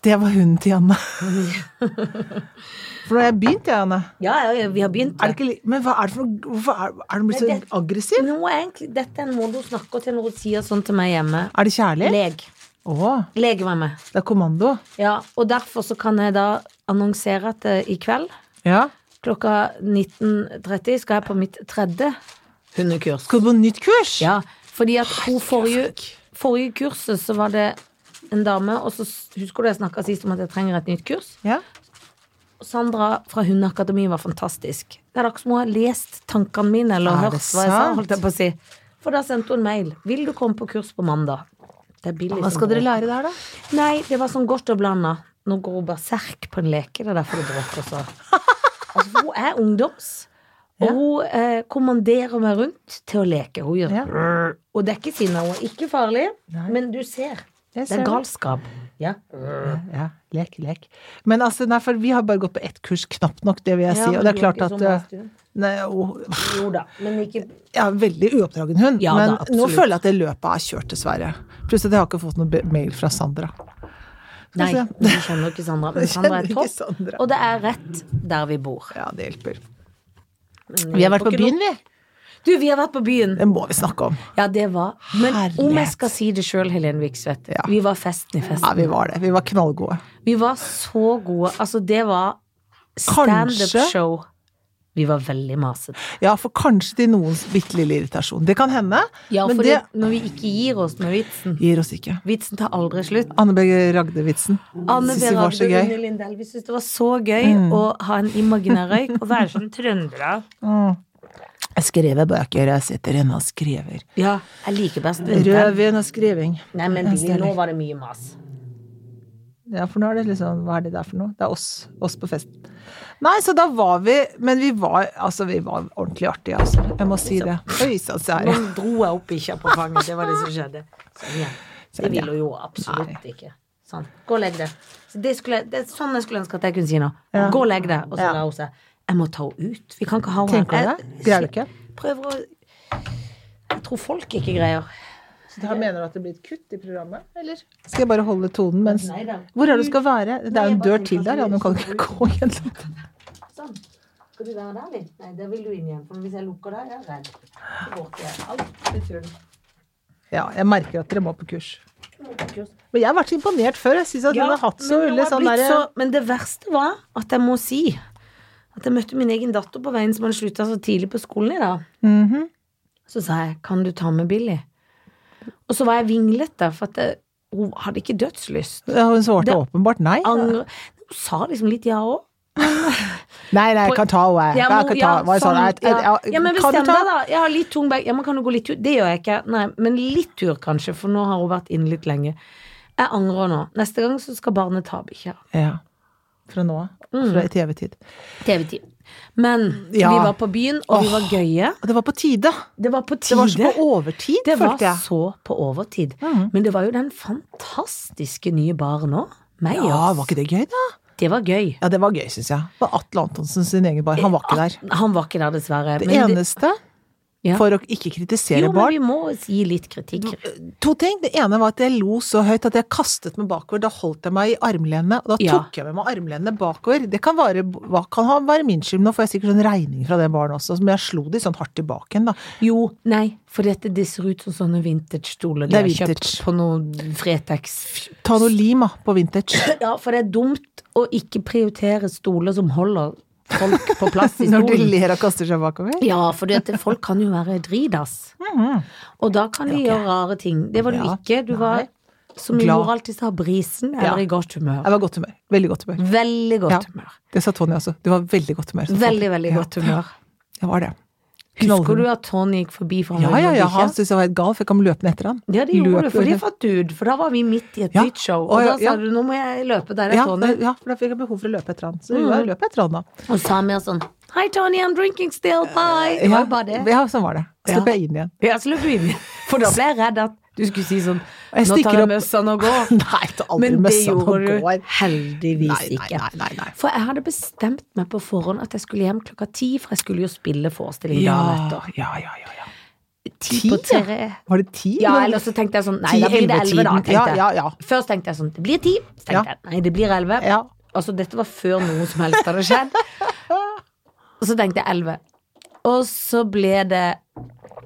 Det var hunden til Janne. For nå har jeg begynt, jeg, Janne. Ja, ja, vi har begynt. Er det ikke, li- men hva er det for noe Hvorfor er, er den blitt Nei, det- så aggressiv? Nå er egentlig, dette er en måte hun snakker til når hun sier sånn til meg hjemme. Er det kjærlig? Leg. Å, Leg meg med. det er kommando. Ja, og derfor så kan jeg da annonsere at eh, i kveld Ja. klokka 19.30 skal jeg på mitt tredje hundekurs. Skal du på nytt kurs? Ja, fordi at hun forrige, forrige kurset så var det en dame, og så s- husker du jeg snakka sist om at jeg trenger et nytt kurs? Ja. Sandra fra Hundeakademiet var fantastisk. Det er akkurat som hun har lest tankene mine, eller Er det hørt hva jeg sa, sant? holdt jeg på å si. For da sendte hun mail. Vil du komme på kurs på mandag? Det er billig. Hva som skal dere brød. lære der, da? Nei, det var sånn godt og blanda. Nå går hun berserk på en leke, det er derfor det bråker så. Altså, for hun er ungdoms, og Ja. hun eh, kommanderer meg rundt til å leke. Hun gjør Ja. Og det er ikke sinne, hun er ikke farlig, Nei. men du ser. Jeg Det ser er galskap. Ja. Ja, lek, lek. Men altså, nei, for vi har bare gått på ett kurs, knapt nok, det vil jeg si. Ja, Og men det er du klart ikke at sånn eh, hest, du. Nei, å, Jo da, men ikke jeg er en veldig uoppdragen hund, Ja, men da, nå absolutt. føler jeg at det løpet er kjørt, dessverre. Pluss at jeg har ikke fått noen be- mail fra Sandra. Nei, se. du kjenner jo ikke Sandra. Men Jeg Sandra er kjenner ikke topp, Sandra. og det er rett der vi bor. Ja, det hjelper. Men Vi har vært får på ikke byen, lov- vi. Du, vi har vært på byen. Det må vi snakke om. Ja, det var Men om jeg Herlighet. skal si det sjøl, Helene Viksvedt, Ja. vi var festen i festen. Ja, vi var det. Vi var knallgode. Vi var så gode. Altså, det var Kanskje. standup-show. Vi var veldig masete. Ja, for kanskje til noens bitte lille irritasjon. Det kan hende, Ja, men for det når vi ikke gir oss med vitsen gir oss ikke. Vitsen tar aldri slutt. Anne B. Ragde-vitsen. Anne Synes B. vi var Ragde så og Rune gøy. Mm. Lindell, vi syntes det var så gøy å ha en imaginær røyk og være sånn trøndere. Jeg skriver bøker, jeg sitter inne og skriver. Ja, jeg liker best vinteren. Rødvin og skriving. Nei, men Jeg Billy, nå stjeler. var det mye mas. Ja, for nå er det liksom Hva er det der for noe? Det er oss. Oss på festen. Nei, så da var vi Men vi var altså, vi var ordentlig artige, altså. Jeg må si det. Oi sann, så er Nå det. dro jeg opp bikkja på fanget, det var det som skjedde. Sånn, ja. Det vil hun jo absolutt ikke. Sånn. Gå og legg deg. Så det, skulle, jeg- det er sånn jeg skulle ønske at jeg kunne si nå. Ja. Gå og legg deg. Og så Ja. la hun seg. Jeg må ta henne ut. Vi kan ikke ha Tenker du henne det? Greier du ikke? Prøver å Jeg tror folk ikke greier. Så da mener du at det blir et kutt i programmet, eller? Skal jeg bare holde tonen mens Nei da. Hvor er det du skal være? Det er jo en dør til der, ja. Nå kan du ikke gå gjennom den. Sånn. Skal du være der litt? Nei, der vil du inn igjen. For hvis jeg lukker deg, jeg er redd. Så går ikke jeg. Alt blir tull. Ja, jeg merker at dere må på kurs. Nå er det kurs. Men jeg har vært så imponert før. Jeg syns at Ja, hun har hatt så men nå veldig har jeg sånn blitt derre så- Men det verste var at jeg må si at jeg møtte min egen datter på veien som hadde slutta så tidlig på skolen i dag. Mhm. Så sa jeg 'Kan du ta med Billy?' Og så var jeg vinglete, for at jeg, hun hadde ikke dødslyst. Ja, Hun svarte Det- åpenbart nei. Angre. Hun sa liksom litt ja òg. Nei, nei, jeg kan ta henne. Ja, Jeg men- kan ta ja, henne. Sånn, sånn, jeg- jeg- ja. jeg- ja, men kan du bestem deg, ta- da. Jeg har litt tung bag. Ja, men kan du gå litt tur? Det gjør jeg ikke. Nei, men litt tur, kanskje, for nå har hun vært inne litt lenge. Jeg angrer nå. Neste gang så skal barnet ta bikkja. Ja. Fra nå av. Mm. Fra i TV-tid. TV-tid. Men Ja. vi var på byen, og vi var gøye. Og det var på tide. Det var på Det tide. var så på overtid, Det var følte jeg. Mhm. så på overtid. Men det var jo den fantastiske nye baren òg. Meg Ja, og var oss. ikke det gøy, da? Det var gøy. Ja, det var gøy, syns jeg. Det var Atle Antonsen sin egen bar. Han var ikke der. Han var ikke der, dessverre. Det Men eneste, Ja. for å ikke kritisere jo, men barn vi må gi litt kritikk. To ting. Det ene var at jeg lo så høyt at jeg kastet meg bakover. Da holdt jeg meg i armlenet, og da Ja. tok jeg med meg armlenet bakover. Det kan være, hva- kan ha- være min skyld. Nå får jeg sikkert sånn regning fra det barnet også, men jeg slo de sånn hardt tilbake igjen, da. Jo, nei, for dette, det ser ut som sånne vintage-stoler de Det er har kjøpt vintage. på noe Fretex. Ta noe lim, da, på vintage. Ja, for det er dumt å ikke prioritere stoler som holder folk på plass i Når de stolen. ler og kaster seg bakover. Ja, for dette, folk kan jo være dridas. Og da kan de gjøre rare ting. Det var du Mm-hmm. Ja. ikke. Du var, Nei. som min Glad. mor alltid sa, brisen eller Ja. i godt humør. Jeg var i godt humør. Veldig godt humør. Veldig Ja. godt humør. Det sa Tony også. Du var i veldig godt humør. sa Veldig, Tony. veldig Ja. godt humør. Jeg var det. Husker Knallhumør. du at Tony gikk forbi for han Ja, var ja, jo ja. bikkje? Han syntes jeg var helt gal, for jeg kom løpende etter han. Ja, det gjorde du, Løp- for det var dude, for da var vi midt i et Ja. nytt show, og Å, ja, da sa ja. du 'nå må jeg løpe der', er Ja, eh, Tony. Mm. ja, for da fikk jeg behov for å løpe etter han. Så jeg løp etter han, da. Og sa mer sånn 'Hei, Tony, I'm drinking still, bye'. Det var Ja, jo bare det. ja, sånn var det. Så Ja. ble jeg inn igjen. Ja, så løp vi inn. For da ble jeg redd at du skulle si sånn Jeg 'Nå stikker tar jeg opp- møssene og går'. Nei, ta aldri Men det møssa og gjorde du går. heldigvis Nei, nei, ikke. nei, nei, nei. For jeg hadde bestemt meg på forhånd at jeg skulle hjem klokka ti, for jeg skulle jo spille forestilling Ja, dagen etter. ja, ja, ja, ja. ti Ti, på ja. tre. Var det ti? Ja, eller? eller så tenkte jeg sånn Nei, Ti, da blir det elleve, da. ellevetiden. Tenkte jeg. Ja, ja, ja. Først tenkte jeg sånn Det blir ti. Så tenkte Ja. jeg nei, det blir elleve. ja. Altså, dette var før noe som helst hadde skjedd. Og så tenkte jeg 11. Og så ble det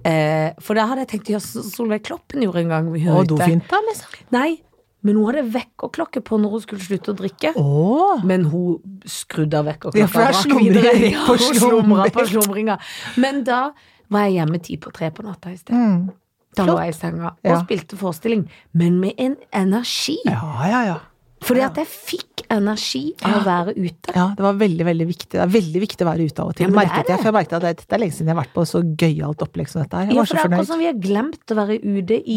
eh, For da hadde jeg tenkt å gjøre som Solveig Kloppen gjorde en gang. vi Og hørte. dofinta, liksom. Nei, men hun hadde vekkerklokke på når hun skulle slutte å drikke. Åh. Men hun skrudde av Ja, for vekkerklokka det er slumring Ja, på hun slumra slumring. på slumringa. Men da var jeg hjemme ti på tre på natta i sted. Mm. Da flott. lå jeg i senga og Ja. spilte forestilling, men med en energi. Ja, ja, ja. Fordi at jeg fikk energi Ah. av å være ute. Ja, det var veldig, veldig viktig. Det er veldig viktig å være ute av og til. Ja, men det merket er det. jeg, for jeg merket at det, det er lenge siden jeg har vært på så gøyalt opplegg som dette her. Jeg Ja, var for det så er akkurat fornøyd. Mm. som vi har glemt å være ute i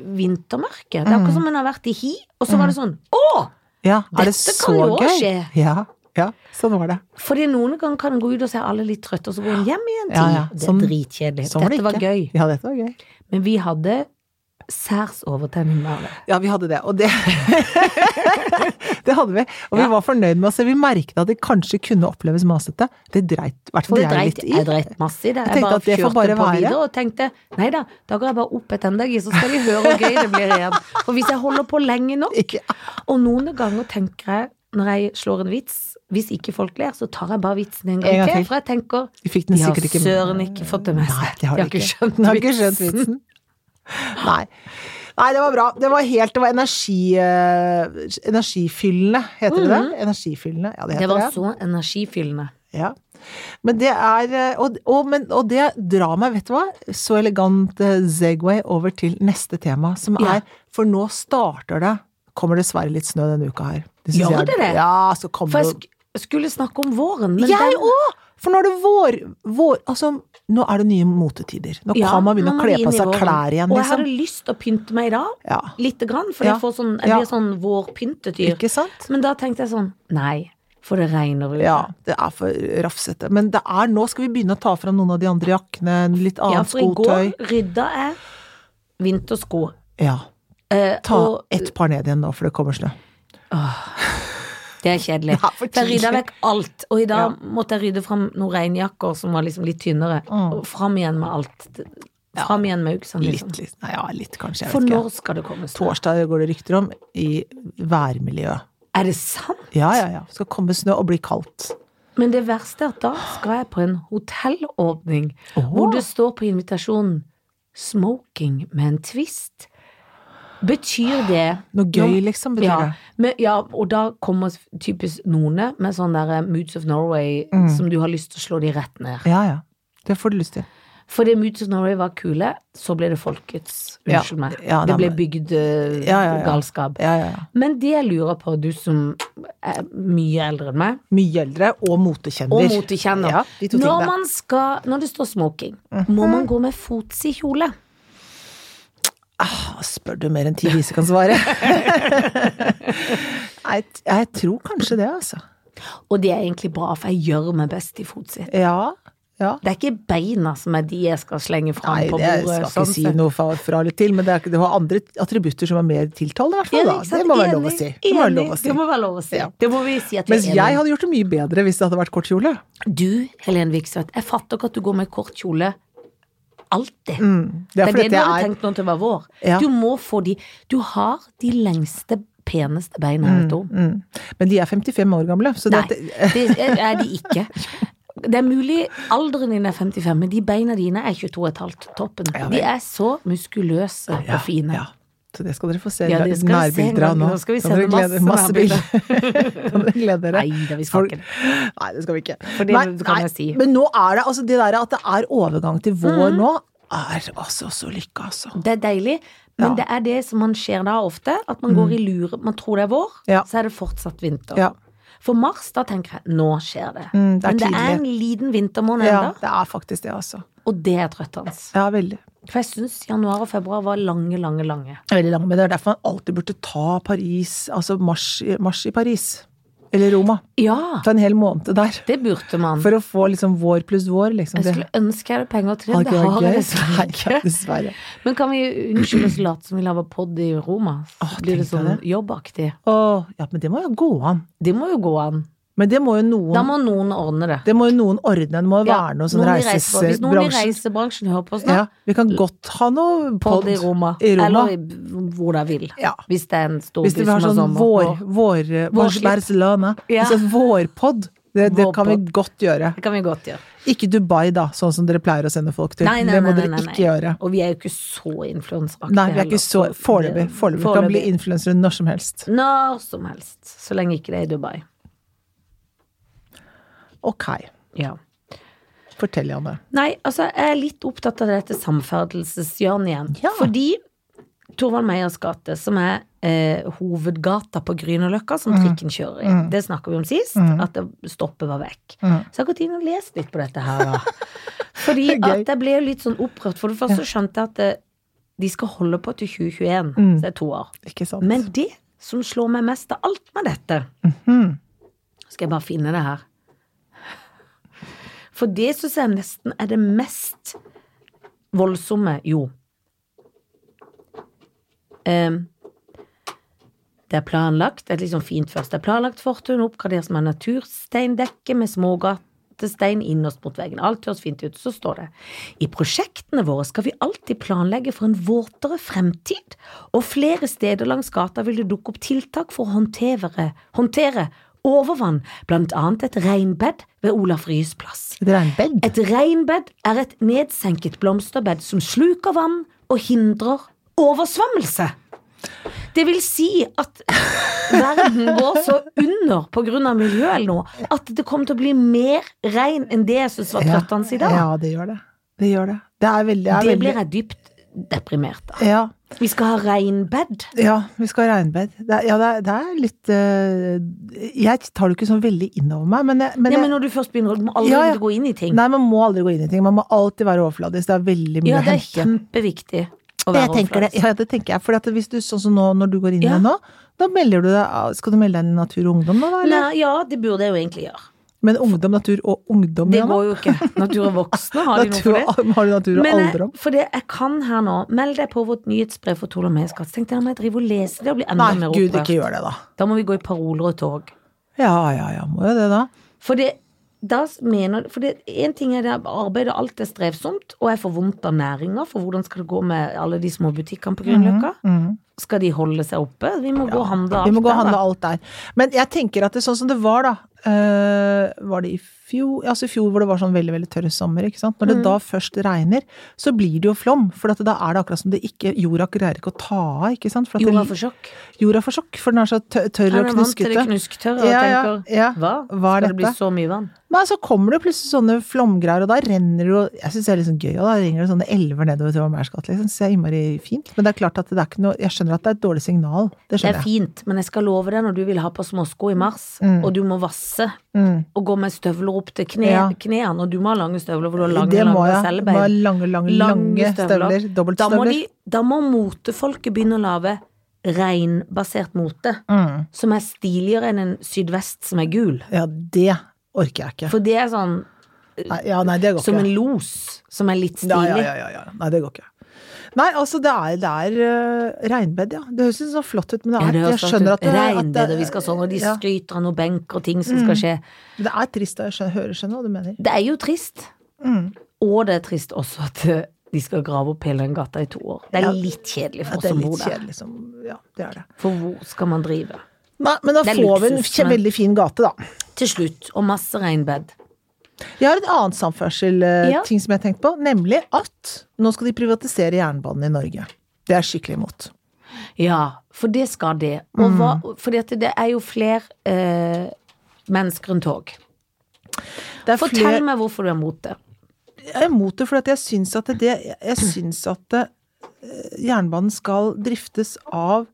vintermørket. Det er akkurat som man har vært i hi, og så var det Mm. sånn Å! Ja, er det Dette så kan jo også gøy? skje. Ja, ja, sånn var det. Fordi noen ganger kan en gå ut og se alle litt trøtte, og så går en hjem igjen til. Ah. Ja, ja. Det Sånn- er dritkjedelig. Sånn var det Dette var ikke. gøy. Ja, dette var gøy. Men vi hadde særs overtenning med alle. Ja, vi hadde det, og det Det hadde vi. Og vi Ja. var fornøyd med oss. Vi merket at det kanskje kunne oppleves masete. Det dreit i hvert fall Det jeg dreit, litt i. jeg dreit masse i det. Jeg Jeg tenkte bare at det får kjørte bare på være. videre og tenkte nei da, da går jeg bare opp et enda gi, så skal de høre hvor gøy det blir igjen. For hvis jeg holder på lenge nok Ikke- ah, Og noen ganger tenker jeg, når jeg slår en vits Hvis ikke folk ler, så tar jeg bare vitsen en gang En gang til. til. For jeg tenker Vi fikk den De har sikkert ikke søren ikke fått det med seg. Nei, det har de ikke. skjønt De har ikke skjønt vitsen. vitsen. Nei. Nei, det var bra. Det var helt Det var energi, eh, energifyllende, heter det det? Energifyllende, ja det heter Det det. var så energifyllende. Ja. Men det er eh, Og, og, men, og det drar meg, vet du hva, så elegant eh, Segway over til neste tema, som Ja. er For nå starter det Kommer dessverre litt snø denne uka her. synes Gjør jeg er- det det? Ja, så kommer For jeg det sk skulle snakke om våren, men Jeg den- òg! For nå er det vår, vår Altså, nå er det nye motetider. Nå Ja, kan man begynne nå å må kle vi på inn i seg våren. klær igjen, Og jeg liksom. hadde lyst til å pynte meg i dag, Ja. lite grann, for Ja. jeg, får sånn, jeg Ja. blir sånn vårpyntedyr. Ikke sant? Men da tenkte jeg sånn, nei, for det regner vel. Ja, det er for rafsete. Men det er nå skal vi begynne å ta fram noen av de andre jakkene, litt Ja, annet for i skotøy. går rydda jeg vintersko. Ja. Eh, Ta og ett par ned igjen nå, for det kommer snø. det er kjedelig. Det er for jeg rydda tidlig. vekk alt. Og i dag Ja. måtte jeg rydde fram noen regnjakker som var liksom litt tynnere. Og fram igjen med alt. Fram igjen med uksene, liksom. Mm. Litt, litt. Nei, ja, litt kanskje. Jeg For vet når ikke. skal det komme snø? Torsdag går det rykter om i værmiljøet. Er det sant? Ja, ja, ja. Skal komme snø og bli kaldt. Men det verste er at da skal jeg på en hotellåpning Åh. hvor det står på invitasjonen 'smoking med en twist'. Betyr det Noe gøy, liksom, betyr ja, det. men, ja, og da kommer typisk noen med sånn der eh, Moods of Norway Mm. som du har lyst til å slå de rett ned. Ja, ja. Det får du lyst til. Fordi Moods of Norway var kule, så ble det folkets. Ja. Unnskyld meg. Ja, det nei, ble men- bygd eh, Ja, ja, ja. galskap. Ja, ja, ja. Men det jeg lurer på, du som er mye eldre enn meg, Mye eldre og motekjenner. og motekjenner. Ja, de to når, tingene. Mhm. man skal, når det står smoking, må man gå med fots i kjole? Ah, spør du mer enn ti vise kan svare? jeg, jeg tror kanskje det, altså. Og det er egentlig bra, for jeg gjør meg best i fotsit. Ja. ja. Det er ikke beina som er de jeg skal slenge fram Nei, på det jeg bordet. skal sånn ikke si sett. noe fra, fra eller til, men det, er, ikke- det var andre attributter som er mer tiltalende, i hvert fall. Ja, Da. ikke sant? Det må være Enig, lov å si. Det må være enig. lov å si. Det må være lov å si. Ja. Det må vi si at vi Mens er jeg enige. hadde gjort det mye bedre hvis det hadde vært kort kjole. Du, Helene Vikstvedt, jeg fatter ikke at du går med kort kjole alltid. Mm. Det det er er det fordi du at hadde jeg er tenkt nå til å være vår. Ja. Du må få de Du har de lengste, peneste beina, jeg vet du. mm. Men de er 55 år gamle, så Nei, det, det er de ikke. Det er mulig alderen din er 55, men de beina dine er 22,5 toppen. Ja, vel. De er så muskuløse ja, og fine. Ja. Så det skal dere få se Ja, det skal vi se en nærbilder av gang. nå. Nå skal vi Kan se dere glede- masse bilder. kan dere glede dere? Nei da, vi skal Folk- ikke det. Nei, det skal vi ikke. det kan jeg si. Mm. Men nå er det altså det der at det er overgang til vår nå, er altså så lykke, altså. Det er deilig, men Ja. Mm. det er det som man ser da ofte. At man går i lure. Man tror det er vår, Ja. så er det fortsatt vinter. Ja. For mars, da tenker jeg nå skjer det. Mm, det er men det er tidlig. en liten vintermåned ja, ennå, det er faktisk det, altså. og det er trøttende. Ja, veldig. For jeg syns januar og februar var lange, lange, lange. Veldig lang, men det er derfor man alltid burde ta Paris, altså mars, mars i Paris. Eller Roma. Ja, Ta en hel måned der. det burde man. For å få liksom vår pluss vår, liksom. Jeg Det- skulle ønske jeg hadde penger til det, Har men det ikke vært har jeg gøy? dessverre Nei, ikke. dessverre. Men kan vi unnskylde oss og late som vi lager pod i Roma? Så Åh, blir det tenk sånn deg jobbaktig. Åh, ja, men det må jo gå an. Det må jo gå an. Men det må jo Da noen, må noen ordne det. det må jo noen ordne. Det må jo Ja, være noe sånn noen i reise- Hvis noen i reisesbransje. reisebransjen hører på oss nå, Ja, vi kan godt ha noe podd pod i Roma. i Roma. Eller i b- hvor de vil. Ja. Hvis det er en stor Hvis det by var som har sånn sommer. vår, vår, vår Vårslipp. Barcelona. Ja. Altså vårpod. Det, det kan vi Vårpod. godt gjøre. Det kan vi godt gjøre. Ikke Dubai, da, sånn som dere pleier å sende folk til. Nei, nei, det må nei, nei, dere nei, nei. ikke gjøre. Og vi er jo ikke så influenseraktige. Nei, vi er heller. ikke så Foreløpig. Foreløpig. Vi kan bli influensere når som helst. Når som helst. Så lenge ikke det er i Dubai. Ok. Ja. Fortell, Janne. Nei, altså, jeg er litt opptatt av dette samferdselshjørnet igjen. Ja. Fordi Torvald Meyers gate, som er eh, hovedgata på Grünerløkka, Mm. som trikken kjører i, det snakka vi om sist, at det stoppet var vekk. Mm. Så jeg har gått inn og lest litt på dette her, da. Fordi Det er gøy. at jeg ble jo litt sånn opprørt. For det første skjønte jeg at eh, de skal holde på til 2021, Mm. så det er to år. Ikke sant? Men det som slår meg mest av alt med dette Mhm. Skal jeg bare finne det her. For det syns jeg nesten er det mest voldsomme Jo. Ehm, det er planlagt, et litt sånn fint først. Det er planlagt fortun, oppgraderes med natursteindekke med smågatestein innerst mot veggen. Alt høres fint ut. Så står det i prosjektene våre skal vi alltid planlegge for en våtere fremtid, og flere steder langs gata vil det dukke opp tiltak for å håndtere, håndtere overvann, blant annet et regnbed ved Olaf Ryes plass. Det er en bed. Et regnbed er et nedsenket blomsterbed som sluker vann og hindrer oversvømmelse. Det vil si at verden går så under på grunn av miljøet eller noe, at det kommer til å bli mer regn enn det jeg syns var Ja. trøttende i dag. Ja, det gjør det. Det gjør det. Det er veldig, er Det veldig blir jeg dypt deprimert av. ja, Vi skal ha regnbed. ja, vi skal ha regnbed. Det er, ja, det er, det er litt eh, Jeg tar det ikke sånn veldig innover meg, men, jeg, men, Ja, jeg, men når du først begynner, du må aldri Ja, ja. gå inn i ting. Nei, man må aldri gå inn i ting. Man må alltid være overfladisk. Det er veldig mye ja, å det er hente. kjempeviktig å Det være tenker jeg- overfladisk. Ja, det tenker jeg. For at hvis du, sånn som nå, når du går inn i Ja. det nå, da melder du deg ah, Skal du melde deg inn i Natur og Ungdom nå, da? Eller? Nei, ja, det burde jeg jo egentlig gjøre. Men Ungdom, Natur og Ungdom, Det Jana? går jo ikke. Natur og voksne, har de noe for det? Natur- Har du Natur og Men jeg, Alderdom? for det jeg kan her nå, meld deg på vårt nyhetsbrev for Tolo Meiskatt. Tenk deg om jeg driver og leser det og blir enda Nei, mer gud, opprørt. ikke gjør det, da. Da må vi gå i paroler og tog. Ja, ja, ja, må jo det, da. For det da mener, for det, en ting er det at arbeidet alt er strevsomt, og jeg får vondt av næringa, for hvordan skal det gå med alle de små Mhm. butikkene på Grünerløkka? Skal de holde seg oppe? Vi må gå og handle Vi må gå og handle da. alt der. Men jeg tenker at det er sånn som det var, da. eh, var det i fjor? Ja, Altså i fjor hvor det var sånn veldig veldig tørr sommer. ikke sant? Når Mhm. det da først regner, så blir det jo flom. For at da er det akkurat som det ikke Jorda greier ikke å ta av, ikke sant? For at Jorda det, får sjokk. jorda får sjokk, for den er så tø- tørr Han og er vant til det knuskete. knusktørre og Ja, ja, tenker ja. hva? Hva er skal det bli dette? så mye vann? Nei, så kommer det plutselig sånne flomgreier, og da renner det jo Jeg syns det er litt sånn gøy, og da ringer det sånne elver nedover til Åmærsgat, liksom. Så det er innmari fint. Men det er klart at det er ikke noe Jeg skjønner at det er et dårlig signal. Det Det er skjønner jeg. fint, men jeg skal love deg når du vil ha på småsko i mars, og du må vasse Mm. og gå med støvler opp til kne, Ja. knærne, og du må ha lange støvler, for du har lange, det må lange jeg. Må ha selbein. lange, lange, lange støvler. Da må, Dobbeltstøvler. de, da må motefolket begynne å lage regnbasert mote, Mm. som er stiligere enn en sydvest som er gul. Ja, det orker jeg ikke. For det er sånn Nei, ja, nei, det går som en ikke. los, som er litt Ja, ja, stilig. ja, ja, ja. Nei, det går ikke. Nei, altså, det er, det er eh, regnbed, ja. Det høres litt sånn flott ut, men det Ja, er, det jeg skjønner at det, at Regnbed, det, og vi skal sånn, og de ja. Mm. skryter av noen benker og ting som skal skje. Men det er trist, og jeg skjønner, hører, skjønner hva du mener. Det er jo trist. Mm. Og det er trist også at eh, de skal grave opp hele den gata i to år. Det er Ja. litt kjedelig for At oss det er som bor litt der. kjedelig som Ja, det er det. For hvor skal man drive? Nei, men da Det er får vi en luksus, men- veldig fin gate, da. Til slutt, og masse regnbed. Jeg har et annet Ja. samferdsel-ting som jeg har tenkt på, nemlig at nå skal de privatisere jernbanen i Norge. Det er jeg skikkelig imot. Ja, for det skal det. Og Mm. hva, fordi at det er jo flere eh, mennesker enn tog. Det er Fortell flere- meg hvorfor du er mot det. Jeg er imot det, for at jeg syns at det Jeg syns at eh, jernbanen skal driftes av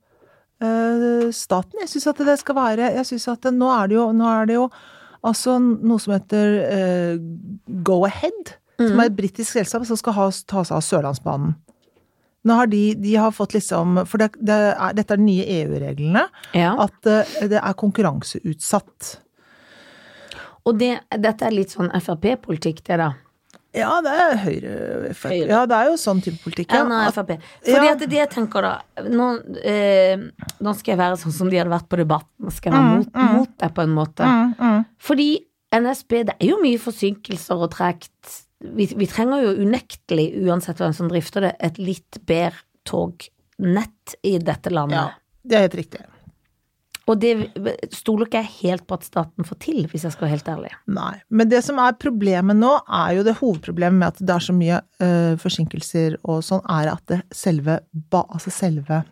eh, staten. Jeg syns at det skal være Jeg syns at det, nå er det jo Nå er det jo altså noe som heter eh, Go-Ahead, som er et britisk selskap som skal ha, ta seg av Sørlandsbanen. Nå har de, de har fått liksom For det, det er, dette er de nye EU-reglene. Ja. At eh, det er konkurranseutsatt. Og det, dette er litt sånn Frp-politikk, det da. Ja, det er Høyre Høyre. Ja, det er jo sånn type politikk. ja. Erna At- og Frp. Fordi ja. at det jeg tenker da nå, Mm, eh, nå skal jeg være sånn som de hadde vært på Debatten. Nå skal jeg være mot, mot deg på en måte. Fordi NSB, det er jo mye forsinkelser og tregt. Vi, vi trenger jo unektelig, uansett hvem som drifter det, et litt bedre tognett i dette landet. Ja, det er helt riktig. Og det stoler ikke jeg helt på at staten får til, hvis jeg skal være helt ærlig. Nei. Men det som er problemet nå, er jo det hovedproblemet med at det er så mye eh, forsinkelser og sånn, er at det selve, ba, altså selve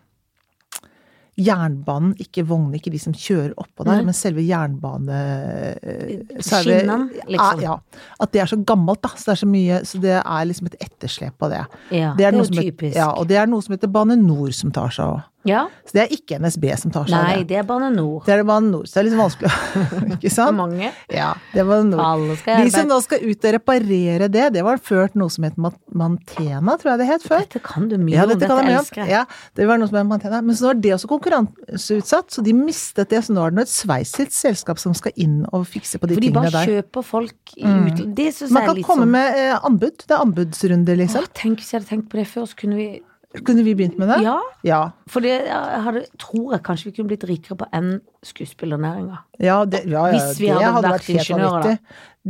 jernbanen, ikke vognene, ikke de som kjører oppå Mm. der, men selve jernbane... eh, selve- Skinnene, liksom. Ja, ja. At det er så gammelt, da. Så det er så mye Så det er liksom et etterslep på det. Ja, det er noe jo som het- typisk. ja, og det er noe som heter Bane Nor som tar seg av. Ja? Så det er ikke NSB som tar seg av Nei, det. det er Bane Nor. Det er Bane Nor, så det er litt vanskelig Ikke Det er sant? mange. Ja, det var noe. Alle skal i De som arbeid. nå skal ut og reparere det, det var ført noe som het Man- Mantena, tror jeg det het før. Dette kan du mye Ja, om, dette dette kan jeg mye elsker om. jeg. Ja, det var noe som het Mantena. Men så var det også konkurranseutsatt, så de mistet det. Så nå er det nå et sveitsisk selskap som skal inn og fikse på de For de tingene bare der. Mm. kjøper folk i utlandet. Det syns Man jeg er kan litt komme sånn med eh, anbud. Det er anbudsrunde, liksom. Åh, Tenk hvis jeg hadde tenkt på det før, så kunne vi Kunne vi begynt med det? Ja. Ja, For det jeg hadde, tror jeg kanskje vi kunne blitt rikere på enn skuespillernæringa. Ja, det, ja, ja, Hvis vi det hadde hadde vært vært helt ingeniører, da.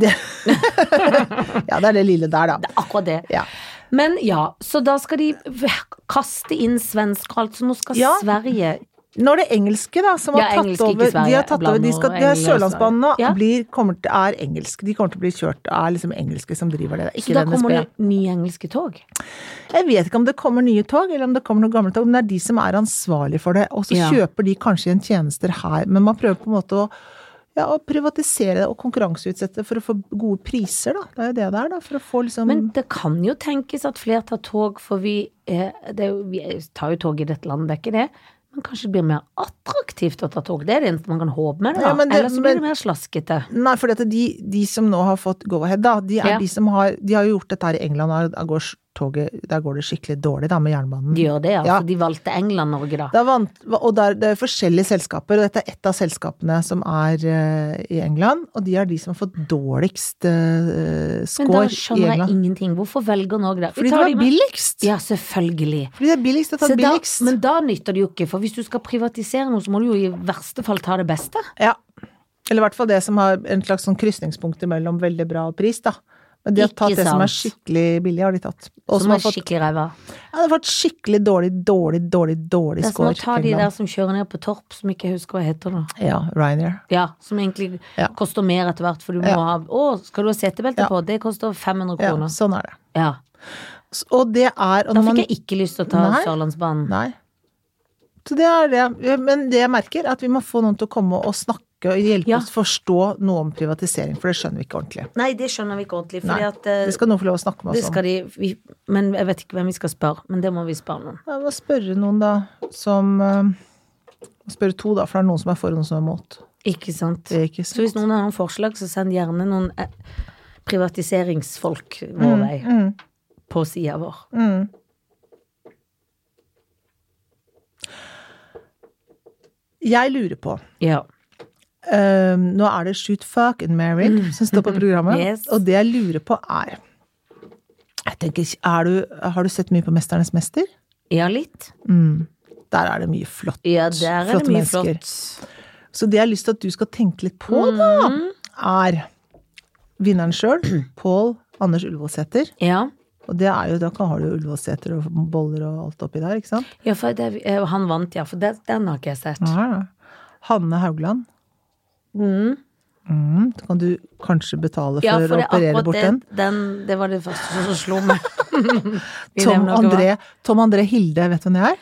vanvittig. Det, ja, det er det lille der, da. Akkurat det. Ja. Men ja, så da skal de v- kaste inn svensker, altså nå skal Ja. Sverige Nå er det engelske, da, som Ja, har tatt engelske, ikke over. Sverige, De har tatt blant over, de skal, de er noe engelsk og Sørlandsbanen nå Sverige. Ja. blir, kommer til, er engelske. De kommer til å bli kjørt av liksom engelske som driver det. Så Ikke da det NSB. kommer det nye engelske tog. Jeg vet ikke om det kommer nye tog, eller om det kommer noen gamle tog, men det er de som er ansvarlig for det. Og så Ja. kjøper de kanskje igjen tjenester her, men man prøver på en måte å ja, å privatisere det og konkurranseutsette for å få gode priser, da. Det er jo det det er, da. For å få liksom Men det kan jo tenkes at flere tar tog, for vi, eh, det, er jo- vi tar jo tog i dette landet, det er ikke det. Men kanskje det blir mer attraktivt å ta tog. Det er det eneste man kan håpe med. det, Da. Ja, men det- Ellers så blir det men- mer slaskete. Nei, for de, de som nå har fått go-ahead, da, de er Ja. de som har De har jo gjort dette her i England, og der går, toget, der går det skikkelig dårlig, da, med jernbanen. De gjør det, altså. Ja. De valgte England-Norge, da. Det er, vant, og der, det er forskjellige selskaper, og dette er ett av selskapene som er eh, i England. Og de er de som har fått dårligst eh, Men da score i skjønner jeg England. ingenting. Hvorfor velger Norge det? Vi Fordi det tar var de med- billigst! Ja, selvfølgelig. Fordi det er billigst å ta Så da, billigst. men da nytter det jo ikke, for hvis du skal privatisere noe, så må du jo i verste fall ta det beste. Ja. Eller i hvert fall det som har en slags sånn krysningspunkt mellom veldig bra og pris, da. Men de har Ikke tatt det som er sant. skikkelig billig, har de tatt. Og Som som er har fått, skikkelig ræva. ja, det har fått skikkelig dårlig, dårlig, dårlig, Det dårlig er som å score. ta i de der England. som kjører ned på Torp, som ikke jeg husker hva heter nå. Ja, Ryanair. Ja, som egentlig Ja. koster mer etter hvert, for du må Ja. ha Å, skal du ha setebelte Ja. på? Det koster 500 Ja, kroner. sånn er det. Ja. S- Og det er og Da når man- fikk jeg ikke lyst til å ta Nei. Sørlandsbanen. Nei. Så det er det. Men det jeg merker, er at vi må få noen til å komme og snakke og hjelpe Ja. oss forstå noe om privatisering, for det skjønner vi ikke ordentlig. Nei, det skjønner vi ikke ordentlig, Nei. fordi at eh, Det skal noen få lov å snakke med det oss om. skal de vi, Men jeg vet ikke hvem vi skal spørre, men det må vi spørre noen. Jeg må spørre noen, da, som eh, Spørre to, da, for det er noen som er for, og noen som er mot. Ikke sant? Det er ikke Så hvis noen har noen forslag, så send gjerne noen eh, privatiseringsfolk vår vei mm, på sida vår. mm. Jeg lurer på Ja. Eh, nå er det Shoot Fuck and Married som står på programmet. Mm. Yes. Og det jeg lurer på, er jeg tenker, ikke- er du, Har du sett mye på 'Mesternes mester'? ja, litt. Mm. Der er det mye flott. Ja, der er Flotte det mye mennesker. flott. Mm. Så det jeg har lyst til at du skal tenke litt på, da, er vinneren sjøl, Pål Anders Ullevålsæter. Ja. Og det er jo, da kan- har du jo Ullevålsæter og boller og alt oppi der, ikke sant? ja, for det, eh, han vant, ja. For det, den har ikke jeg sett. Hanne Haugland. Mm. Mm, så kan du kanskje betale for, Ja, for å det, operere akkurat bort det, den. den. Det var det første som slo meg. Vi Tom nevner ikke hva. André, Tom André Hilde, vet du hvem det er?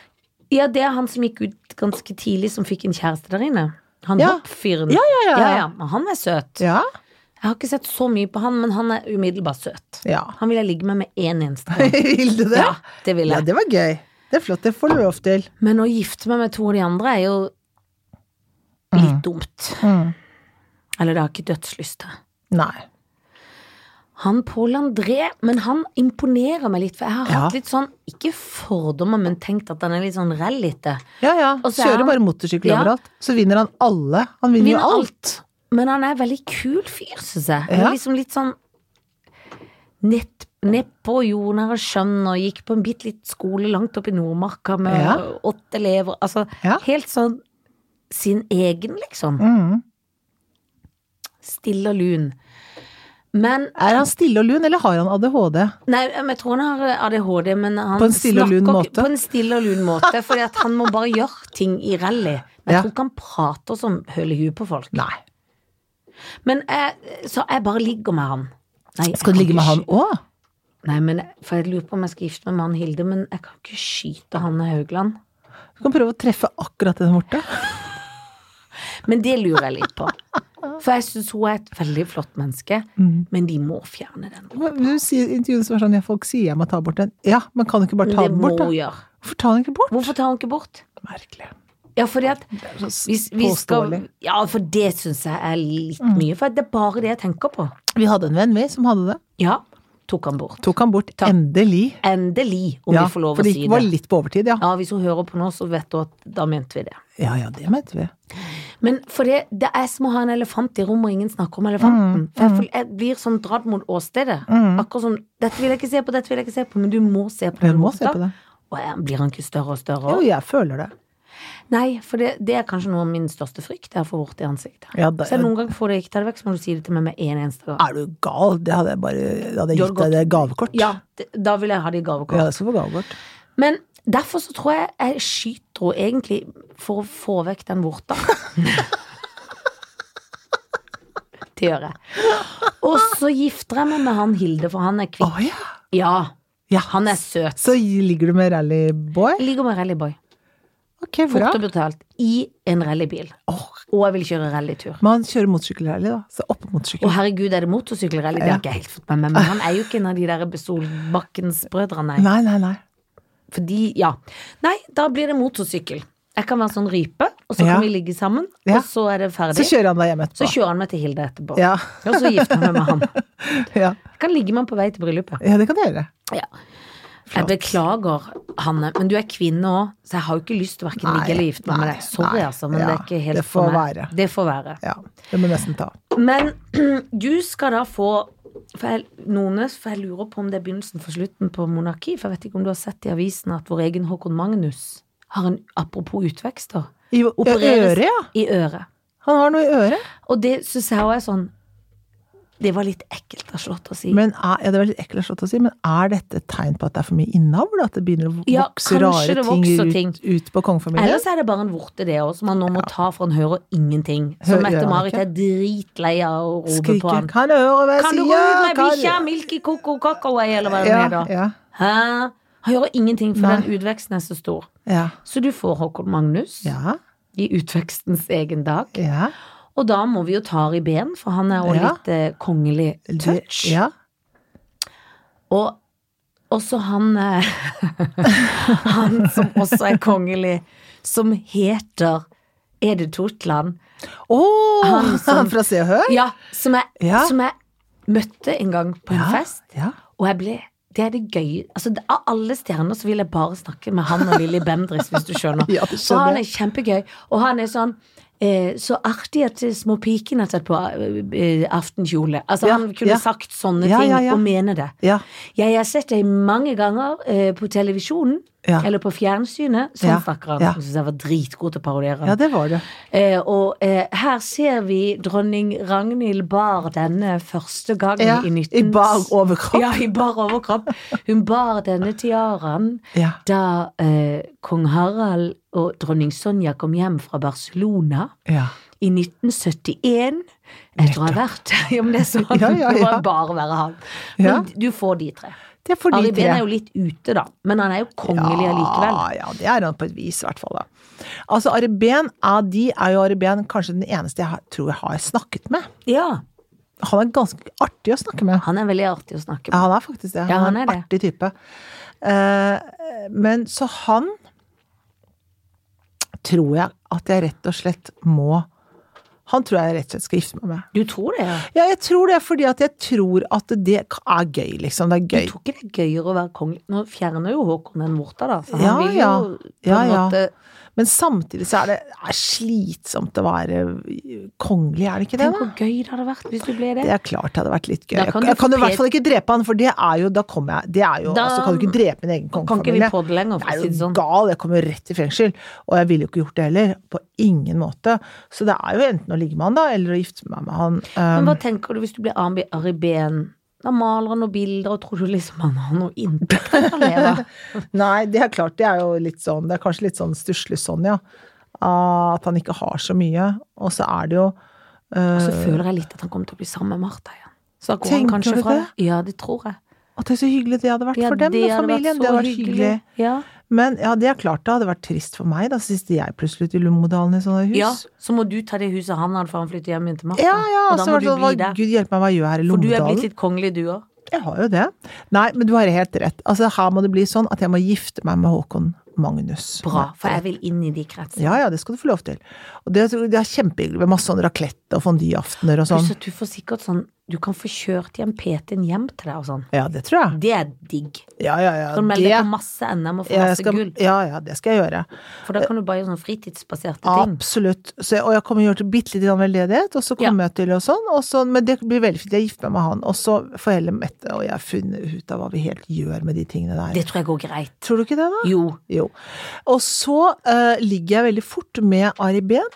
Ja, det er han som gikk ut ganske tidlig, som fikk en kjæreste der inne. Han Ja. hoppfyren. Ja, ja, ja. ja, ja. men Han er søt. Ja. Jeg har ikke sett så mye på han, men han er umiddelbart søt. ja. Han vil jeg ligge med med én eneste gang. Vil du det? Ja, det vil Ja, jeg. det var gøy. Det er flott. Det får du lov til. Men å gifte meg med to av de andre er jo litt Mm. dumt. Eller det har jeg ikke dødslyst til. Nei. Han Pål André, men han imponerer meg litt, for jeg har Ja. hatt litt sånn, ikke fordommer, men tenkt at han er litt sånn rallete. Ja, ja. Og så er Kjører han- bare motorsykkel Ja. overalt. Så vinner han alle. Han vinner, Vinner jo alt. alt. Men han er en veldig kul fyr, syns jeg. Han Ja. er liksom litt sånn nett- Nedpå jordnære skjønn og gikk på en bitte litt skole langt oppe i Nordmarka med Ja. åtte elever. Altså Ja. helt sånn sin egen, liksom. Mm. Stille og lun. Men Er han stille og lun, eller har han ADHD? Nei, men jeg tror han har ADHD, men han På en stille og lun snakker ikke- måte. På en stille og lun måte, fordi at han må bare gjøre ting i rally. Men jeg Ja. tror ikke han prater som høler huet på folk. Nei. Men jeg, så jeg bare ligger med han. Nei, jeg Skal kan du ligge ikke med han sky- òg? Nei, men jeg- for jeg lurer på om jeg skal gifte meg med han Hilde, men jeg kan ikke skyte han Haugland. Du kan prøve å treffe akkurat den borte. Men det lurer jeg litt på. For jeg syns hun er et veldig flott menneske, Mm. men de må fjerne den. Men Du sier i intervjuet som er sånn ja, folk sier jeg må ta bort den. Ja, men kan du ikke bare ta Det den må bort, da? hun gjøre. Hvorfor tar han ikke bort? Hvorfor tar hun ikke bort? Merkelig. Ja, fordi at Det er så hvis vi skal påståelig. Mm. Ja, for det syns jeg er litt mye. For det er bare det jeg tenker på. Vi hadde en venn vi som hadde det. Ja, tok han bort. Tok han bort Ta- endelig. Endelig, om ja, vi får lov for å det si det. var litt på overtid, ja. Ja, hvis hun hører på nå, så vet hun at da mente vi det. Ja ja, det mente vi. Men for det, det er som å ha en elefant i rommet, og ingen snakker om Mm, elefanten. For jeg, får- jeg blir sånn dratt mot åstedet. Akkurat som 'Dette vil jeg ikke se på, dette vil jeg ikke se på', men du må se på Vi den må se rotta. på det. Og jeg, blir han ikke større og større? Jo, også? jeg føler det. Nei, for det, det er kanskje noe av min største frykt, det er å få vorte i ansiktet. Ja, da- Så jeg noen ganger får det ikke tatt vekk, så må du si det til meg med en eneste gang. Er du gal? Det hadde jeg bare da hadde jeg Gjør gitt deg det gavekort. Ja, det, da vil jeg ha det i Ja, gavekort. det skal få gavekort. Men derfor så tror jeg jeg skyter henne egentlig for å få vekk den vorta. det gjør jeg. Og så gifter jeg meg med han Hilde, for han er Å kvikk. ja. Ja, ja. han er søt. Så ligger du med rallyboy? Jeg ligger med rallyboy. Ok, bra. Fort og brutalt. I en rallybil. Åh, Og jeg vil kjøre rallytur. men han kjører motorsykkelrally, da. Så opp på Å motorsykkel. herregud, er det motorsykkelrally? Det har ikke jeg helt fått med meg. Men han er jo ikke en av de der Solbakkens-brødrene. Nei, nei, nei. Fordi, ja Nei, da blir det motorsykkel. Jeg kan være sånn rype, og så Ja. kan vi ligge sammen. Ja. Og så er det ferdig. Så kjører han deg hjem etterpå. Så kjører han meg til Hilde etterpå. Ja, Og så gifter jeg meg med han. ja. Jeg kan ligge med han på vei til bryllupet. ja, det kan du gjøre. Ja. Jeg beklager, Hanne, men du er kvinne òg, så jeg har jo ikke lyst til å hverken ligge Nei, eller gifte meg med nei, deg. Sorry, nei. altså, men Ja, det er ikke helt det får for meg. være. Det får være. Ja, det må du nesten ta. Men du skal da få for jeg, Nones, for jeg lurer på om det er begynnelsen for slutten på monarki. For jeg vet ikke om du har sett i avisen at vår egen Håkon Magnus har en apropos utvekster. I ja, Opereres- øret, ja. i øret. Han har noe i øret. Og det syns jeg òg er sånn Det var litt ekkelt av Slått å si. Men er, ja, det var litt ekkelt slått å si, men er dette et tegn på at det er for mye innavl? At det begynner å vokse Ja, kanskje rare det ting, vokser ting. ut, ut på kongefamilien? Ellers er det bare en vorte, det òg, som han nå må ta, for han hører ingenting. Så Hø- gjør han Mette-Marit ikke? er dritlei av å rope på Skriker han. 'kan du høre hva jeg Kan du sier'? gå ut med Kan du- bikkja, milky coco cocaway, eller hva det Ja, heter? ja, Hæ? Han hører ingenting, for Nei. den utveksten er så stor. ja, Så du får Håkon Magnus ja, i utvekstens egen dag. ja. Og da må vi jo ta ribben, for han er jo Ja. litt eh, kongelig touch. Det- Ja. Og også han eh, Han som også er kongelig, som heter Edith Totland. Å, Han han, som- fra Se og Hør? Ja, som jeg, Ja. Som jeg møtte en gang på en Ja, fest, Ja. og jeg ble det er det gøye altså, det- Av alle stjerner så vil jeg bare snakke med han og Lilly Bendriss, hvis du skjønner. Ja, det For skjønner han er jeg. kjempegøy, og han er sånn eh, Så artig at små piken har tatt på eh, aftenkjole. Altså, Ja, han kunne ja. sagt sånne Ja, ting ja, ja. og mene det. Ja. Jeg har sett deg mange ganger eh, på televisjonen, Ja. eller på fjernsynet. Sånn Ja, snakker han. ja. Jeg synes jeg var dritgod til å parodiere. ja, det var det. Eh, og eh, her ser vi dronning Ragnhild bar denne første gang Ja, i 19... I bar overkropp. Ja, i bar overkropp. Hun bar denne tiaraen Ja. da eh, kong Harald og dronning Sonja kom hjem fra Barcelona ja. i 1971. Etter å ha vært Ja, men det er sånn. Ja, ja, Det må ja. bare være han. Ja. Men du får de tre. Det er for Ari de Behn tre. er jo litt ute, da. Men han er jo kongelig allikevel. Ja, ja, det er han på et vis, i hvert fall. Da. Altså, Ari Behn, av de er jo Ari Behn kanskje den eneste jeg har- tror jeg har snakket med. Ja. Han er ganske artig å snakke med. Han er veldig artig å snakke Ja, med. han er faktisk det. Ja, Han han er er en artig type. Eh, Men så han tror jeg at jeg rett og slett må Han tror jeg rett og slett skal gifte meg med. Du tror det, ja? Ja, jeg tror det, fordi at jeg tror at det er gøy, liksom. Det er Jeg gøy. tror ikke det er gøyere å være kongelig Nå fjerner jo Håkon den vorta, da. Så han Ja, vil jo ja. på en Ja, ja. måte Men samtidig så er det det er slitsomt å være kongelig, er det ikke det? Tenk da? hvor gøy det hadde vært hvis du ble det. Det er klart det hadde vært litt gøy. Da Jeg kan kan, du jeg kan få jo i hvert pet- fall ikke drepe han, for det er jo Da kommer jeg Det er jo Da- Altså, kan du ikke drepe min egen Kan ikke vi kongefamilie? podde lenger, for Jeg å si er det jo sånn. gal, jeg kommer jo rett i fengsel. Og jeg ville jo ikke gjort det heller. På ingen måte. Så det er jo enten å ligge med han, da, eller å gifte meg med han. Men Um, hva tenker du hvis du blir Ari Ari Behn? Da maler han noen bilder, og tror du liksom han har noe inntekt han lever av? Nei, det er klart, det er jo litt sånn Det er kanskje litt sånn stusslig sånn, ja. Ah, At han ikke har så mye. Og så er det jo Og så eh, føler jeg litt at han kommer til å bli sammen med Martha igjen. Så da går han Tenker kanskje du fra det? Ja, det tror jeg. At det er så hyggelig det hadde vært for dem og familien. Det hadde vært hyggelig. Ja. Men ja, det er klart det hadde vært trist for meg, da siste jeg plutselig ut i Lommodalen i sånne hus. ja, så må du ta det huset han hadde før han flytter hjem igjen til Martha. ja, ja så og da var må det du sånn, bli hva- der. Gud hjelpe meg, hva gjør jeg her i For du er blitt Lommodalen? litt kongelig, du òg. Jeg har jo det. Nei, men du har helt rett. Altså, her må det bli sånn at jeg må gifte meg med Håkon Magnus. Bra, for jeg vil inn i de kretsene. Ja, ja, det skal du få lov til. Og det, det er kjempehyggelig med masse sånn raclette og fondyaftener og sånn. Pluss at du får sikkert sånn Du kan få kjørt hjem PT-en hjem til deg og sånn. Ja, det tror jeg. Det er digg. Ja, ja, ja. Du kan melde det- deg på masse NM og få ja, jeg masse skal, gull. ja, ja, det skal jeg gjøre. For da kan du bare gjøre sånn fritidsbaserte ting. Absolutt. Så, jeg- og jeg kommer til å gjøre til bitte litt grann veldedighet, og så Ja. kommer jeg til og sånn. Og så, men det blir veldig fint. Jeg gifter meg med han, og så får Helle Mette og jeg funnet ut av hva vi helt gjør med de tingene der. Det tror jeg går greit. Tror du ikke det, da? Jo. Jo. Og så eh, ligger jeg veldig fort med Ari Behn.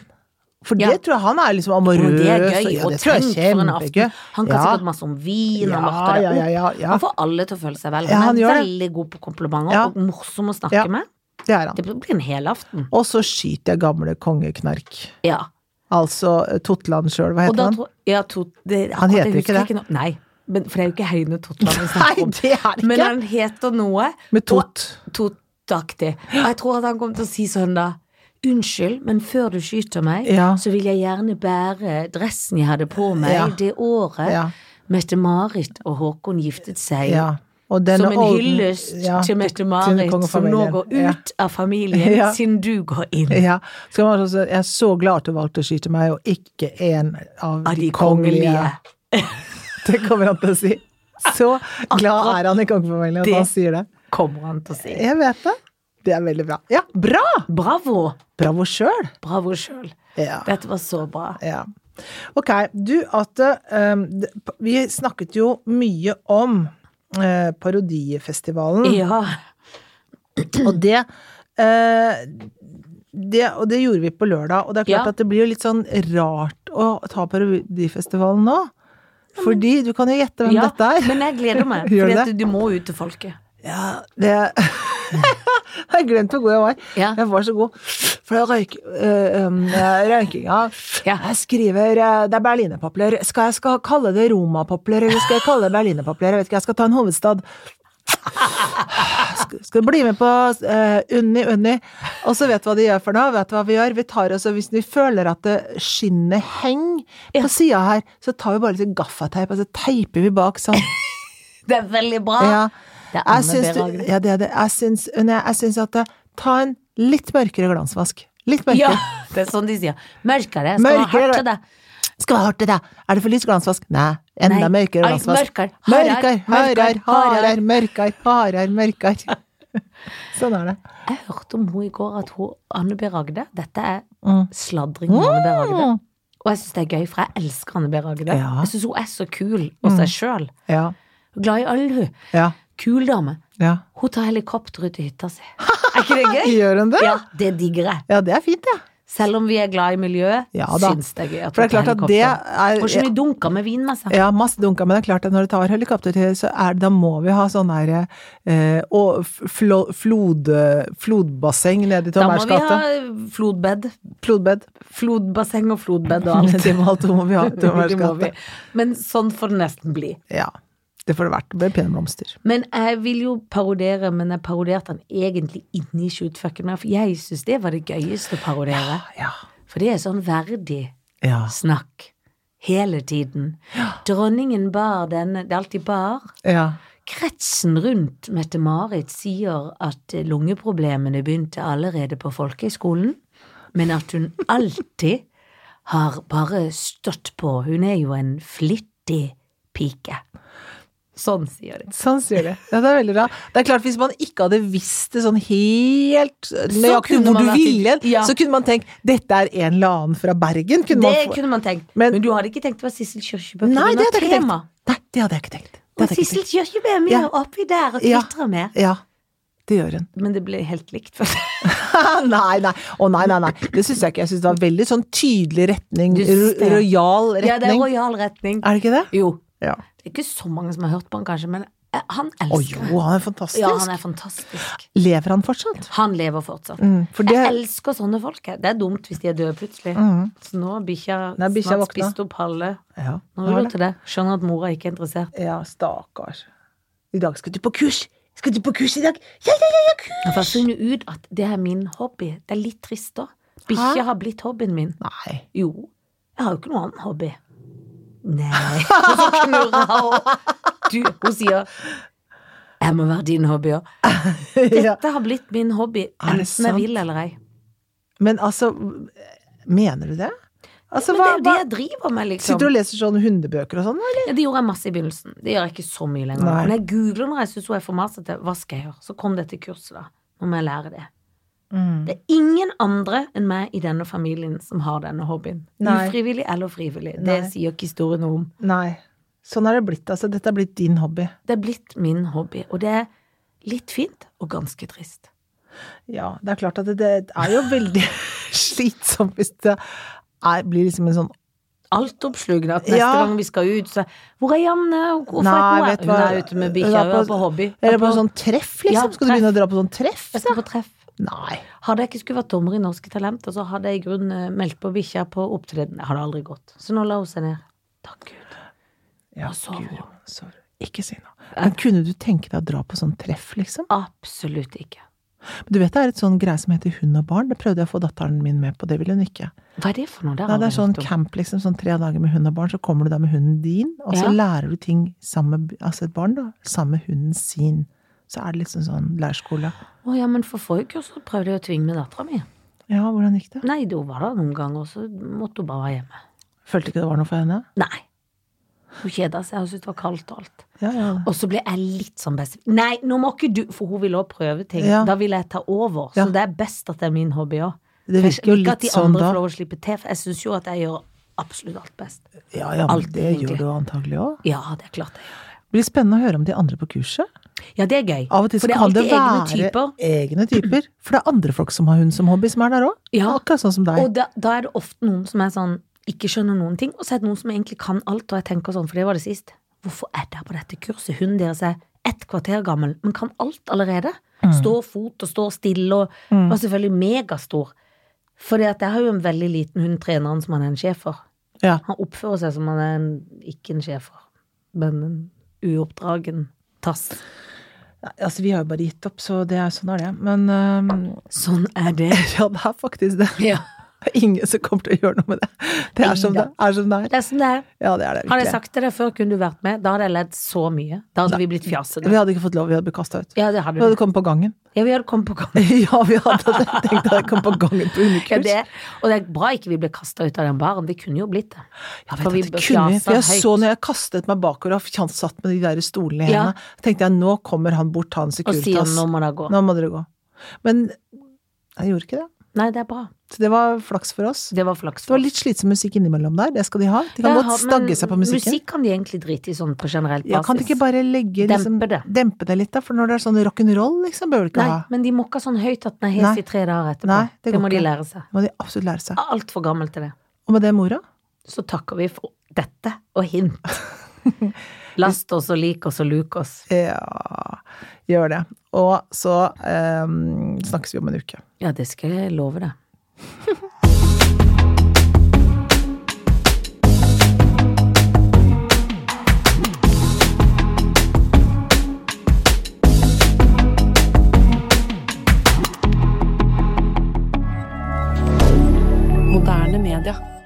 For Ja. det tror jeg han er liksom Og amorøs. det er gøy. og- ja, og det tror jeg tenk er for en kjempegøy. aften. Han kan Ja. sikkert masse om vin. Ja, og løfter det ja, opp. ja, ja, ja. Han får alle til å føle seg vel. Ja, han han gjør er det. veldig god på komplimenter Ja. og morsom å snakke Ja. med. Det er han. Det blir en hel aften. Og så skyter jeg gamle kongeknark. Ja. Altså eh, Totland sjøl, hva heter Og da han? tror ja, to, det, Han heter jeg husker ikke det. no- Nei, men, for det er jo ikke Heine Totland vi Nei, snakker om. det er det Men ikke! han heter noe Med tot. og- Totaktig. Og jeg tror at han kommer til å si sånn da Unnskyld, men før du skyter meg, Ja. så vil jeg gjerne bære dressen jeg hadde på meg Ja. det året Ja. Mette-Marit og Håkon giftet seg. Ja. Og denne Som en olden- hyllest ja, til til Mette-Marit, som nå kongefamilien. går ut Ja. av familien, Ja. siden du går inn. Ja. Skal man også, jeg er så glad at du valgte å skyte meg, og ikke en av, Av de kongelige. Det kommer han til å si. Så glad er han i kongefamilien at det. han sier det. Kommer han til å si. Jeg vet det. Det er veldig bra. Ja, bra! Bravo! Bravo sjøl. Bravo sjøl. Ja. Dette var så bra. ja. Ok, du Ate, um, d- vi snakket jo mye om eh, parodifestivalen. Ja. Og det, eh, det Og det gjorde vi på lørdag. Og det er klart Ja. at det blir jo litt sånn rart å ta parodifestivalen nå. Fordi du kan jo gjette hvem ja. dette er. Men jeg gleder meg, Gjør for du du, du må ut til folket. Ja, det Jeg har glemt hvor god jeg var. Ja. Jeg var så god. For det røyk, eh, um, eh, røykinga Ja. Jeg skriver eh, Det er berlinerpopler. Skal jeg skal kalle det romapopler, eller skal jeg kalle det berlinerpopler? Jeg vet ikke, jeg skal ta en hovedstad. Sk- Skal du bli med på eh, Unni, Unni? Og så vet du hva de gjør for noe? Vet du hva vi gjør? Vi tar også, Hvis vi føler at det skinnet henger på sida her, så tar vi bare litt gaffateip, og så teiper vi bak sånn. Det er veldig bra. Ja. Det er Jeg Anne syns, B. du, Ragde. ja, det er det. Jeg syns, Unni, jeg syns at det, Ta en litt mørkere glansvask. Litt Ja, mørkere. det er sånn de sier. Mørkere. Skal man Mørkere. herte det? Skal være hardt i det. Er det for lys glansvask? Nei. Enda Nei. mørkere Ai, glansvask. mørkere. Mørkere, Hardere, hardere, mørkere, hardere, mørkere, hardere, mørkere. Sånn er det. Jeg hørte om hun i går at hun, Anne B. Ragde Dette er Mm. sladring med Anne B. Ragde. Mm. Og jeg syns det er gøy, for jeg elsker Anne B. Ragde. Ja. Mm. Jeg syns hun er så kul og seg sjøl. Ja. Glad i alle, hun. Ja. Kul dame. ja. Hun tar helikopter ut til hytta si. Er ikke det gøy? Gjør hun det? Ja, det digger jeg. Ja, det er fint, ja. Selv om vi er glad i miljøet, Ja da. syns det er gøy at For det hun er tar klart at det helikopter. er Hun har så mye dunker med altså. vin med seg. Ja, masse dunka, men det er klart at når du tar helikopter til, så er, det- da må vi ha sånn her eh, og flo, flod, eh, flodbasseng nede i Da må Tommers vi ha gate. flodbed. Flodbed. Flodbasseng og flodbed og alt. Det må, alt må vi ha. Det må Tommers vi. gate. Men sånn får det nesten bli. Ja. Det får det vært. Det blir pene blomster. Men jeg vil jo parodere, men jeg parodierte han egentlig inni shootfucken meg, for jeg syns det var det gøyeste å parodiere. Ja. For det er sånn verdig Ja. snakk. Hele tiden. Dronningen bar denne Det er alltid bar. ja. Kretsen rundt Mette-Marit sier at lungeproblemene begynte allerede på folkehøyskolen, men at hun alltid har bare stått på. Hun er jo en flittig pike. Sånn sier de. Sånn sier de. Ja, det er veldig bra. Det er klart, hvis man ikke hadde visst det sånn helt nøyaktig kunne hvor man du vært ville, i- ja. så kunne man tenkt 'dette er en eller annen fra Bergen'. Kunne Det man få. kunne man tenkt. Men- Men, du hadde ikke tenkt det var Sissel Kyrkjebø Nei, det hadde jeg ikke tema. tenkt. Nei, det hadde jeg ikke tenkt. Det hadde Og jeg ikke Sissel Kyrkjebø er mye Ja. oppi der og Ja. klitrer med. tenkt. Ja, det gjør hun. Men det ble helt likt. for- nei, nei. Å nei, nei, nei. Det syns jeg ikke. Jeg syns det var veldig sånn tydelig retning. Du synes ro- det, ja. Rojal Ja, det er retning. rojal retning. Er det ikke det? Jo. Ja. Det er ikke så mange som har hørt på han, kanskje, men eh, han Å elsker jo, det. han er fantastisk. altså. Ja, han er fantastisk. Lever han fortsatt? Han lever fortsatt. Mm, for Jeg det elsker sånne folk. jeg. Det er dumt hvis de er døde plutselig. mm, Så nå har bikkja Nei, bikkja snart våkna. spist opp halve. Ja, Nå det vil var hun det. til det. Skjønner at mora ikke er interessert. Ja, stakkars. I dag skal du på kurs! Skal du på kurs i dag? Ja, ja, ja, ja kurs! Jeg har funnet ut at det er min hobby. Det er litt trist, da. Hæ? Bikkja har blitt hobbyen min. Nei. Jo, jeg har jo ikke noen annen hobby. Nei. Og så knurrer hun. Du, hun sier jeg må være din hobby òg. Ja. Dette har blitt min hobby, Er det enten jeg sant? vil eller ei. Men altså, mener du det? Altså, Men det hva, er jo det hva jeg driver med, liksom. Sitter du og leser sånne hundebøker og sånn, eller? Ja, det gjorde jeg masse i begynnelsen. Det gjør jeg ikke så mye lenger. Nei. Men jeg googler når jeg syns hun er for masete. Hva skal jeg gjøre? Så kom dette kurset, da. Nå må jeg lære det. Mm. Det er ingen andre enn meg i denne familien som har denne hobbyen. Nei. Ufrivillig eller frivillig. Det Nei. sier ikke historien noe om. Nei. Sånn er det blitt, altså. Dette er blitt din hobby. Det er blitt min hobby, og det er litt fint og ganske trist. Ja, det er klart at det, det er jo veldig slitsomt hvis det er, blir liksom en sånn Altoppslukende at neste Ja. gang vi skal ut, så Hvor er Janne? Hvorfor Nei, er vet ikke du hun hva? her? Hun er ute med Hun bikkja, er hun på- er på hobby. Eller Er på på- sånn treff, liksom? Ja, Skal du begynne å dra på sånn treff? Jeg skal på treff. Nei. Hadde jeg ikke skulle vært dommer i Norske Talenter, så hadde jeg i grunnen eh, meldt på bikkja på opptreden. Jeg hadde aldri gått. Så nå la hun seg ned. Takk Gud. Ja, Og så- Guri, sorry. Ikke si noe. Men kunne du tenke deg å dra på sånn treff, liksom? Absolutt ikke. Du vet det er et sånn greie som heter Hund og barn? Det prøvde jeg å få datteren min med på, det ville hun ikke. Hva er det for noe? Det har Nei, det er jeg sånn aldri hørt om. camp, liksom, sånn tre dager med hund og barn, så kommer du da med hunden din, og så Ja. lærer du ting sammen med altså et barn, da, sammen med hunden sin. Så er det liksom sånn leirskole. Å ja, men for forrige kurs så prøvde jeg å tvinge med dattera mi. Ja, hvordan gikk det? Nei, da var det noen ganger, så måtte hun bare være hjemme. Følte ikke det var noe for henne? Nei. Hun kjeda seg, hun syntes det var kaldt og alt. Ja, ja. Og så ble jeg litt sånn best Nei, nå må ikke du For hun ville også prøve ting. Ja. Da ville jeg ta over. Ja. Så det er best at det er min hobby òg. Det virker jo at litt de sånn andre da. får lov å slippe til, for jeg syns jo at jeg gjør absolutt alt best. Ja, ja, men Alt, det gjør egentlig. du antagelig òg. Ja, det er klart jeg gjør. Blir spennende å høre om de andre på kurset. Ja, det er gøy. Av og til så for det er kan det alltid være egne typer. egne typer. For det er andre folk som har hund som hobby, som er der òg. Ja. Akkurat sånn som deg. Og da, da er det ofte noen som er sånn ikke skjønner noen ting, og så er det noen som egentlig kan alt, og jeg tenker sånn, for det var det sist. Hvorfor er dere på dette kurset? Hunden deres er ett kvarter gammel, men kan alt allerede. Mm. Står fot og står stille, og var selvfølgelig megastor. For jeg har jo en veldig liten hund, treneren, som han er en sjef for. Ja. Han oppfører seg som han er en, ikke en sjef for, men en uoppdragen tass. Nei, Altså, vi har jo bare gitt opp, så det er sånn er det. Men øhm, Sånn er det. ja, det er faktisk det. Ja. Det er Ingen som kommer til å gjøre noe med det. Det er som det Ingen. er. Som det er. Det er sånn det er. Ja, det er det Hadde jeg virkelig. sagt til deg før, kunne du vært med. Da hadde jeg ledd så mye. Da hadde vi blitt fjasete. Vi hadde ikke fått lov, vi hadde blitt kasta ut. Ja, det hadde sånn? Vi du. hadde kommet på gangen. Ja, vi hadde kommet på gang. Ja, vi hadde det. Tenk deg å komme på gangen på Ja, hundekurs. det, og det er bra ikke vi ble kasta ut av den baren. Vi kunne jo blitt det. Ja, vet For du, vi det kunne vi. altså fjasa For jeg høyt. så når jeg kastet meg bakover og Jan satt med de der stolene i Ja. hendene, tenkte jeg nå kommer han bort, han Og sier Securitas. nå må det gå. Nå må dere gå. Men jeg gjorde ikke det. Nei, det er bra. Så det var flaks for oss. Det var flaks. Det var litt slitsom musikk innimellom der, det skal de ha. De kan Ja, godt men stagge seg på musikken. Musikk kan de egentlig drite i sånn på generelt basis. Ja, kan du ikke bare legge Dempe liksom, det. dempe det litt, da? For når det er sånn rock'n'roll, liksom, bør du ikke Nei, ha. men de må ikke ha sånn høyt at den er Nei. hes i tre dager etterpå. Nei, det det, går må de ikke. lære seg. Det må de absolutt lære seg. Altfor gammel til det. Og med det mora, Så takker vi for dette og hint. Last oss og lik oss og luk oss. ja, gjør det. Og så ehm, snakkes vi om en uke. Ja, det skal jeg love deg. Moderne media.